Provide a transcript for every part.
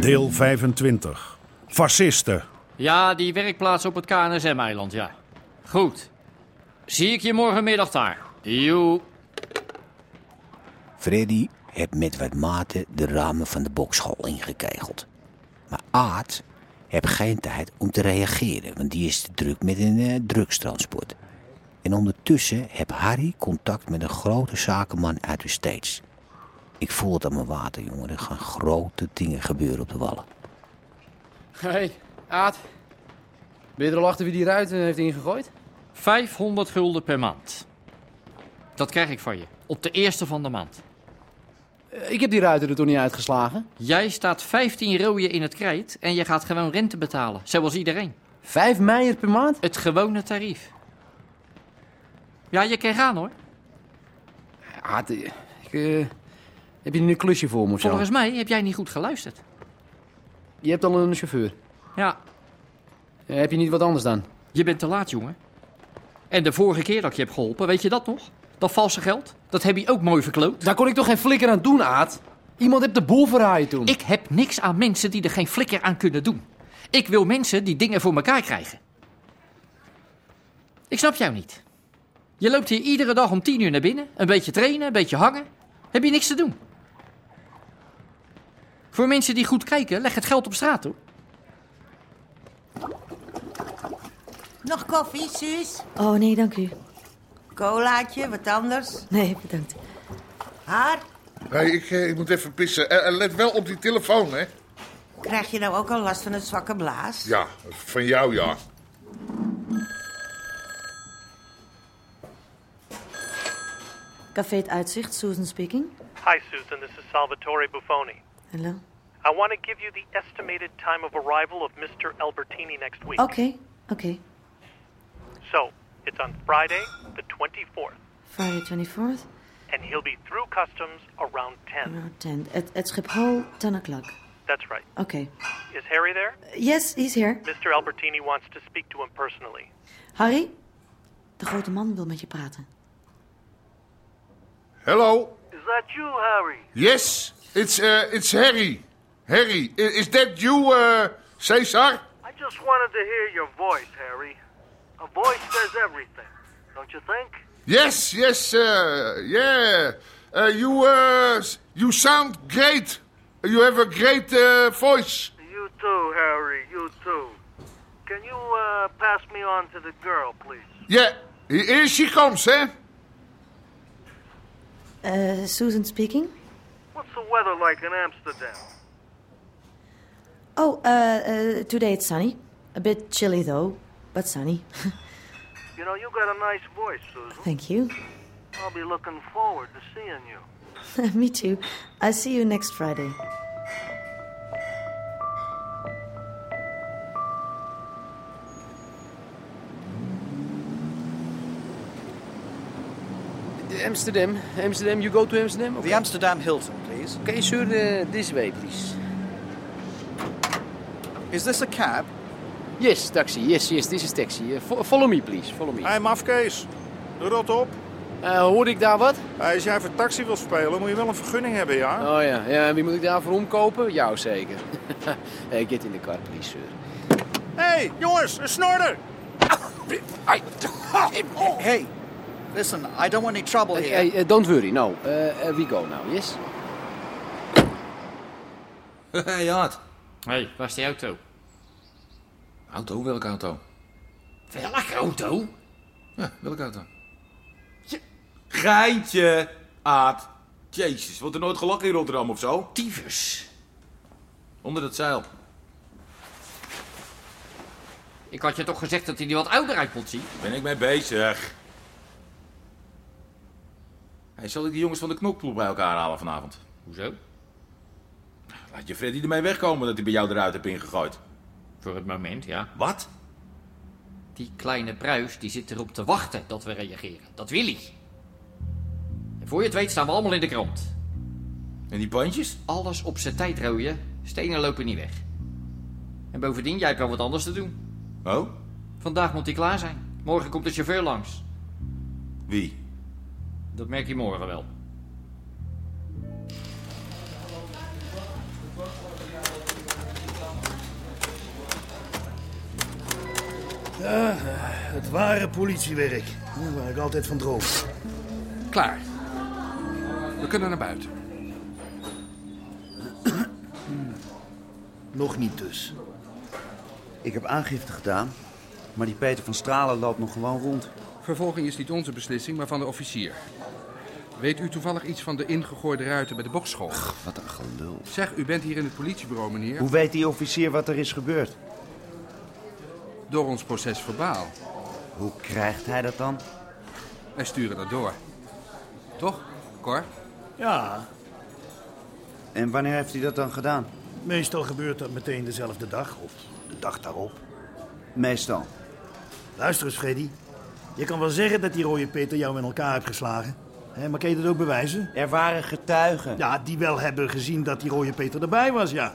Deel 25. Fascisten. Ja, die werkplaats op het KNSM-eiland, ja. Goed. Zie ik je morgenmiddag daar. Joe. Freddy heb met wat mate de ramen van de bokschool ingekegeld. Maar Aad heb geen tijd om te reageren, want die is te druk met een eh, drugstransport. En ondertussen heb Harry contact met een grote zakenman uit de States. Ik voel het aan mijn water, jongen. Er gaan grote dingen gebeuren op de wallen. Hey, Aad. Ben je er al achter wie die ruit eh, heeft ingegooid? 500 gulden per maand. Dat krijg ik van je. Op de eerste van de maand. Eh, Ik heb die ruiten er toch niet uitgeslagen? Jij staat 15 rooien in het krijt en je gaat gewoon rente betalen. Zoals iedereen. Vijf meijer per maand? Het gewone tarief. Ja, je kan gaan hoor. Aad, eh, ik, eh, heb je nu een klusje voor me of zo? Volgens mij heb jij niet goed geluisterd. Je hebt al een chauffeur. Ja, Eh, heb je niet wat anders dan? je bent te laat, jongen. En de vorige keer dat ik je heb geholpen, weet je dat nog? Dat valse geld, dat heb je ook mooi verkloot. Daar kon ik toch geen flikker aan doen, Aad? Iemand heeft de boel verraaien toen. Ik heb niks aan mensen die er geen flikker aan kunnen doen. Ik wil mensen die dingen voor elkaar krijgen. Ik snap jou niet. Je loopt hier iedere dag om tien uur naar binnen. Een beetje trainen, een beetje hangen. Heb je niks te doen. Voor mensen die goed kijken, leg het geld op straat hoor. Nog koffie, Suus? Oh nee, dank u. Colaatje, wat anders? Nee, bedankt. Haar? Hey, ik, eh, ik moet even pissen. En, en let wel op die telefoon, hè? Krijg je nou ook al last van een zwakke blaas? Ja, van jou ja. Café Het Uitzicht, Susan speaking. Hi, Susan. This is Salvatore Buffoni. Hallo. I want to give you the estimated time of arrival of Mr. Albertini next week. Oké, oké. So, it's on Friday, the 24th, Friday 24th, and he'll be through customs around 10. around 10. At, at Schiphol, 10 o'clock. Oké. That's right. Is Harry there? Yes, he's here. Mr. Albertini wants to speak to him personally. Harry, de grote man wil met je praten. Hello? Is that you, Harry? Yes? It's, eh, it's Harry. Harry, i- is that you, eh, Cesar? I just wanted to hear your voice, Harry. A voice says everything, don't you think? Yes, yes, eh, yeah. Eh, you, eh, s- you sound great. You have a great eh, voice. You too, Harry. You too. Can you uh, pass me on to the girl, please? Yeah, here she comes, hè? Eh, Susan speaking. What's the weather like in Amsterdam? Oh, eh, eh, today it's sunny. A bit chilly though, but sunny. You know, you got a nice voice, Susan. Thank you. I'll be looking forward to seeing you. Me too. I see you next Friday. Amsterdam, Amsterdam, you go to Amsterdam? Oké, The Amsterdam Hilton, please. okay, sir, eh, this way, please. Is this a cab? Yes, taxi, yes, yes, this is taxi. Eh, fo- follow me, please, follow me. Hé, mafkees. Doe dat op. Eh, hoorde ik daar wat? Hey, als jij voor taxi wil spelen, moet je wel een vergunning hebben, ja? Oh ja, ja en wie moet ik daarvoor omkopen? Jou zeker. hey, Eh, get in the car, please, sir. Hé, hey, jongens, een snorder! Hey, listen, I don't want any trouble Hey, here. hey, eh, don't worry, no. Eh, eh, we go now, yes? Hey, Jaat. Hé, hey, waar is die auto? Auto, welke auto? Welke auto? Ja, welke auto? Geintje, Aad. Jezus, wordt er nooit gelachen in Rotterdam of zo? Tyfus. Onder dat zeil. Ik had je toch gezegd dat hij er wat ouder uit moet zien? Ben ik mee bezig. Hey, zal ik die jongens van de knokploeg bij elkaar halen vanavond? Hoezo? Laat je Freddy ermee wegkomen dat hij bij jou eruit hebt ingegooid. Voor het moment, ja. Wat? Die kleine pruis die zit erop te wachten dat we reageren. Dat wil hij. En voor je het weet staan we allemaal in de krant. Dus En die pandjes? Alles op zijn tijd, rooien. Stenen lopen niet weg. En bovendien, jij hebt wel wat anders te doen. Oh? Vandaag moet hij klaar zijn. Morgen komt de chauffeur langs. Wie? Dat merk je morgen wel. Ja, het ware politiewerk. Daar waar ik altijd van droom. Klaar. We kunnen naar buiten. Nog niet dus. Ik heb aangifte gedaan, maar die Peter van Stralen loopt nog gewoon rond. Vervolging is niet onze beslissing, maar van de officier. Weet u toevallig iets van de ingegooide ruiten bij de bokschool? Wat een gelul. Zeg, u bent hier in het politiebureau, meneer. Hoe weet die officier wat er is gebeurd? Door ons proces verbaal. Hoe krijgt hij dat dan? Wij sturen dat door. Toch, Cor? Ja, En wanneer heeft hij dat dan gedaan? meestal gebeurt dat meteen dezelfde dag of de dag daarop. Meestal. Luister eens, Freddy. Je kan wel zeggen dat die rode Peter jou in elkaar heeft geslagen. Hè, maar kan je dat ook bewijzen? Er waren getuigen. Ja, die wel hebben gezien dat die rode Peter erbij was, ja.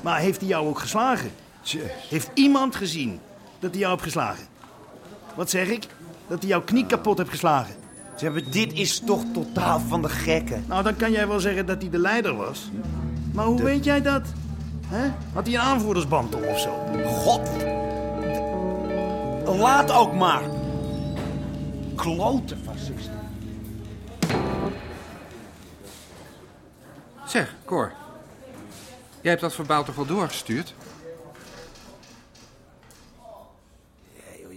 Maar heeft hij jou ook geslagen? Heeft iemand gezien dat hij jou heeft geslagen? Wat zeg ik? Dat hij jouw knie kapot heeft geslagen. Zeg, maar dit is toch totaal van de gekken. Nou, dan kan jij wel zeggen dat hij de leider was. Maar hoe weet jij dat? Hè? Had hij een aanvoerdersband om of zo? God. Laat ook maar. Klote fascisten. Zeg, Cor. Jij hebt dat verbaal toch wel doorgestuurd?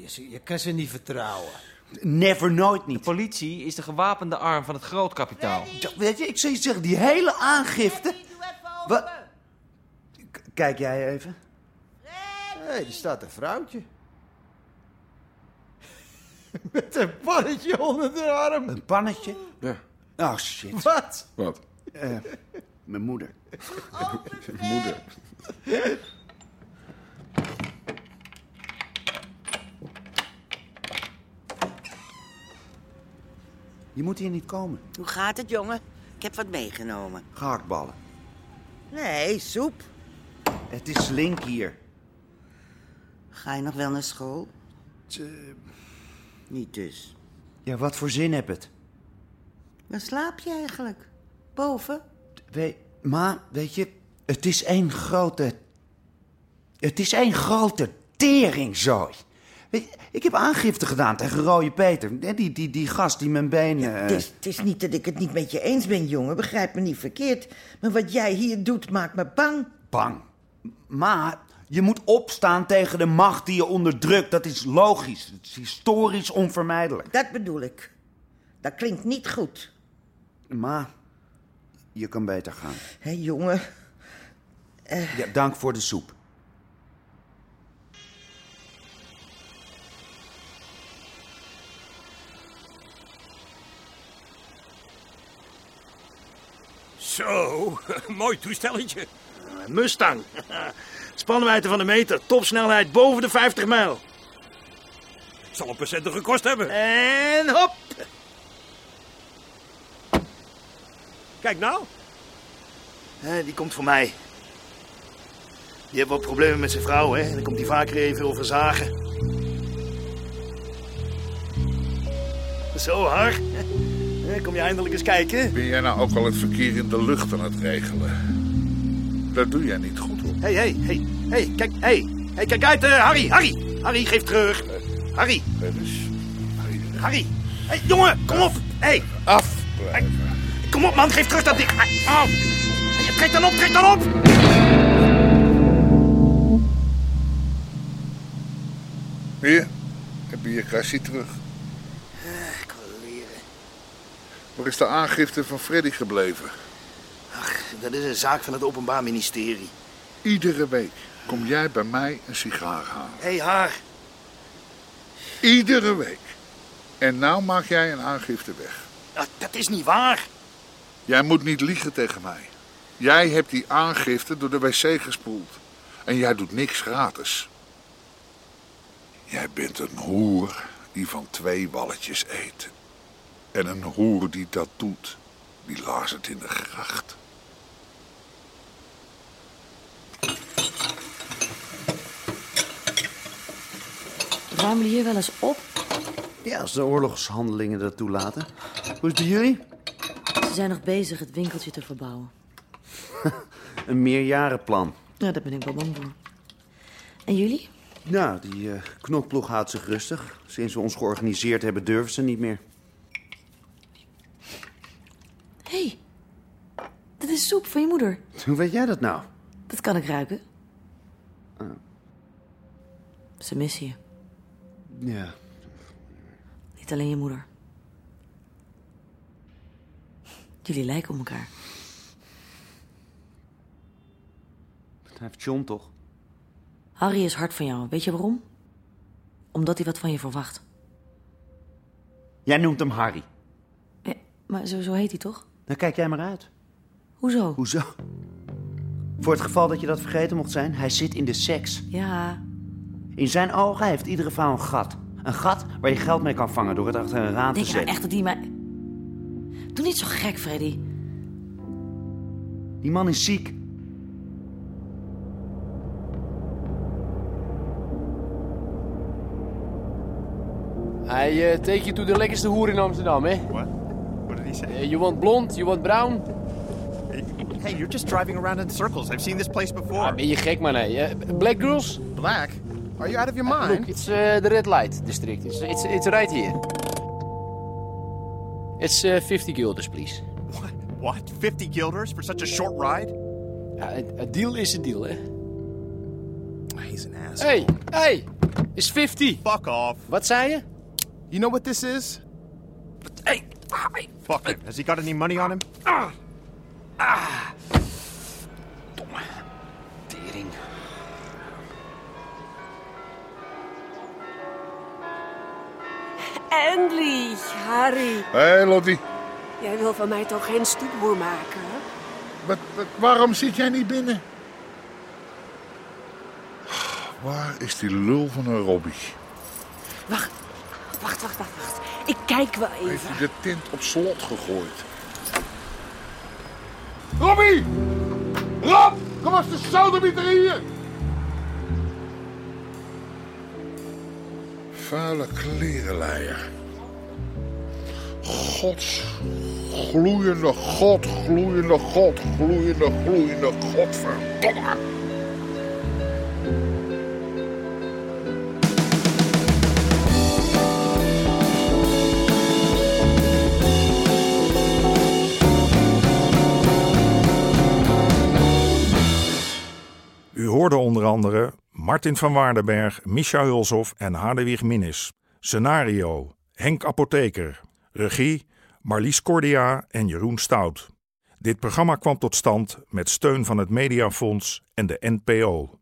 Je, je kan ze niet vertrouwen. Never, nooit niet. De politie is de gewapende arm van het grootkapitaal. Ja, Weet je, ik zou je zeggen, die hele aangifte... Wat? K- Kijk jij even? Hé, hey, er staat een vrouwtje. Met een pannetje onder de arm. Een pannetje? Ja. Oh, shit. Wat? Wat? Eh, mijn moeder. Moeder. Je moet hier niet komen. Hoe gaat het, jongen? Ik heb wat meegenomen. Gehaktballen. Nee, soep. Het is link hier. Ga je nog wel naar school? Niet dus. Ja, wat voor zin heb het? Waar slaap je eigenlijk? Boven? We, maar, weet je, het is één grote... Het is één grote teringzooi. Weet je, ik heb aangifte gedaan tegen Rode Peter. Hè, Die, die, die gast die mijn benen... eh, Het is, het is niet dat ik het niet met je eens ben, jongen. Begrijp me niet verkeerd. Maar wat jij hier doet, maakt me bang. Bang. Maar je moet opstaan tegen de macht die je onderdrukt. Dat is logisch. Het is historisch onvermijdelijk. Dat bedoel ik. Dat klinkt niet goed. Maar je kan beter gaan. Hé, jongen. Ja, dank voor de soep. Zo, mooi toestelletje. Mustang. Spanwijdte van de meter, topsnelheid boven de 50 mijl. Zal een patiënt gekost hebben. En hop! Kijk nou. Hè, die komt voor mij. Die heeft wat problemen met zijn vrouw, hè? Dan komt hij vaker even over zagen. Zo, Har. Hè, Kom je eindelijk eens kijken? Ben jij nou ook al het verkeer in de lucht aan het regelen? Dat doe jij niet goed, hoor. Hé, hé, hé. Hé, kijk, hé. Hé, kijk uit, eh, Harry, Harry. Harry, geef terug. Harry. dus? Harry. Hé, jongen, kom op. Hé. Af. Kom op, man, geef terug dat ding. Ai, Au. Trek dan op, trek dan op. Hier, heb je je kassie terug. Eh, Ik wil leren. Waar is de aangifte van Freddy gebleven? Dat is een zaak van het Openbaar Ministerie. Iedere week kom jij bij mij een sigaar halen. Hé, hey, haar. Iedere week. En nou maak jij een aangifte weg. Ah, dat is niet waar. Jij moet niet liegen tegen mij. Jij hebt die aangifte door de wc gespoeld. En jij doet niks gratis. Jij bent een hoer die van twee walletjes eet. En een hoer die dat doet, die lazert in de gracht. Ruimen jullie hier wel eens op? Ja, als de oorlogshandelingen dat toelaten. Hoe is het bij jullie? Ze zijn nog bezig het winkeltje te verbouwen. Een meerjarenplan. Ja, daar ben ik wel bang voor. En jullie? Nou, die eh knokploeg houdt zich rustig. Sinds we ons georganiseerd hebben, durven ze niet meer. Hé, hey, dat is soep van je moeder. Hoe weet jij dat nou? Dat kan ik ruiken. Oh. Ah. Ze missen je. Ja. Niet alleen je moeder. Jullie lijken op elkaar. Dat heeft John toch? Harry is hard van jou. Weet je waarom? Omdat hij wat van je verwacht. Jij noemt hem Harry. Maar zo, zo heet hij toch? Dan kijk jij maar uit. Hoezo? Hoezo? Voor het geval dat je dat vergeten mocht zijn, hij zit in de seks. Ja. In zijn ogen heeft iedere vrouw een gat. Een gat waar je geld mee kan vangen door het achter een raam Denk te je nou zetten. echt dat hij mij... Doe niet zo gek, Freddy. Die man is ziek. Hij eh, take you to de lekkerste hoer in Amsterdam, hè? What? What did he say? you want blond, you want brown? Hey, you're just driving around in circles. I've seen this place before. Ah, Ben je gek, man, hè? Eh, black girls? Black? Are you out of your Eh, mind? look, it's eh, the red light district. It's, it's, it's right here. It's eh, 50 guilders, please. What? 50 guilders for such a short ride? Ja, een een deal is een deal, hè? He's an asshole. Hey, hey! It's 50! Fuck off. Wat zei je? You know what this is? Hey! hey. Fuck him. Has he got any money on him? Ah! Ah! Tering. Endlich, Harry. Hé, Lottie. Jij wil van mij toch geen stoetboer maken, hè? Wat, wat- waarom zit jij niet binnen? Waar is die lul van een Robbie? Wacht, wacht, wacht, wacht. Ik kijk wel Heeft even. hij de tent op slot gegooid? Robbie! Rob! Kom als de sodemieter hier! Vuile klerenleier. Gods gloeiende god, gloeiende god, gloeiende, gloeiende godverdomme. U hoorde onder andere Martin van Waardenberg, Micha Hulshoff en Hadewig Minnis. Scenario Henk Apotheker. Regie Marlies Cordia en Jeroen Stout. Dit programma kwam tot stand met steun van het Mediafonds en de NPO.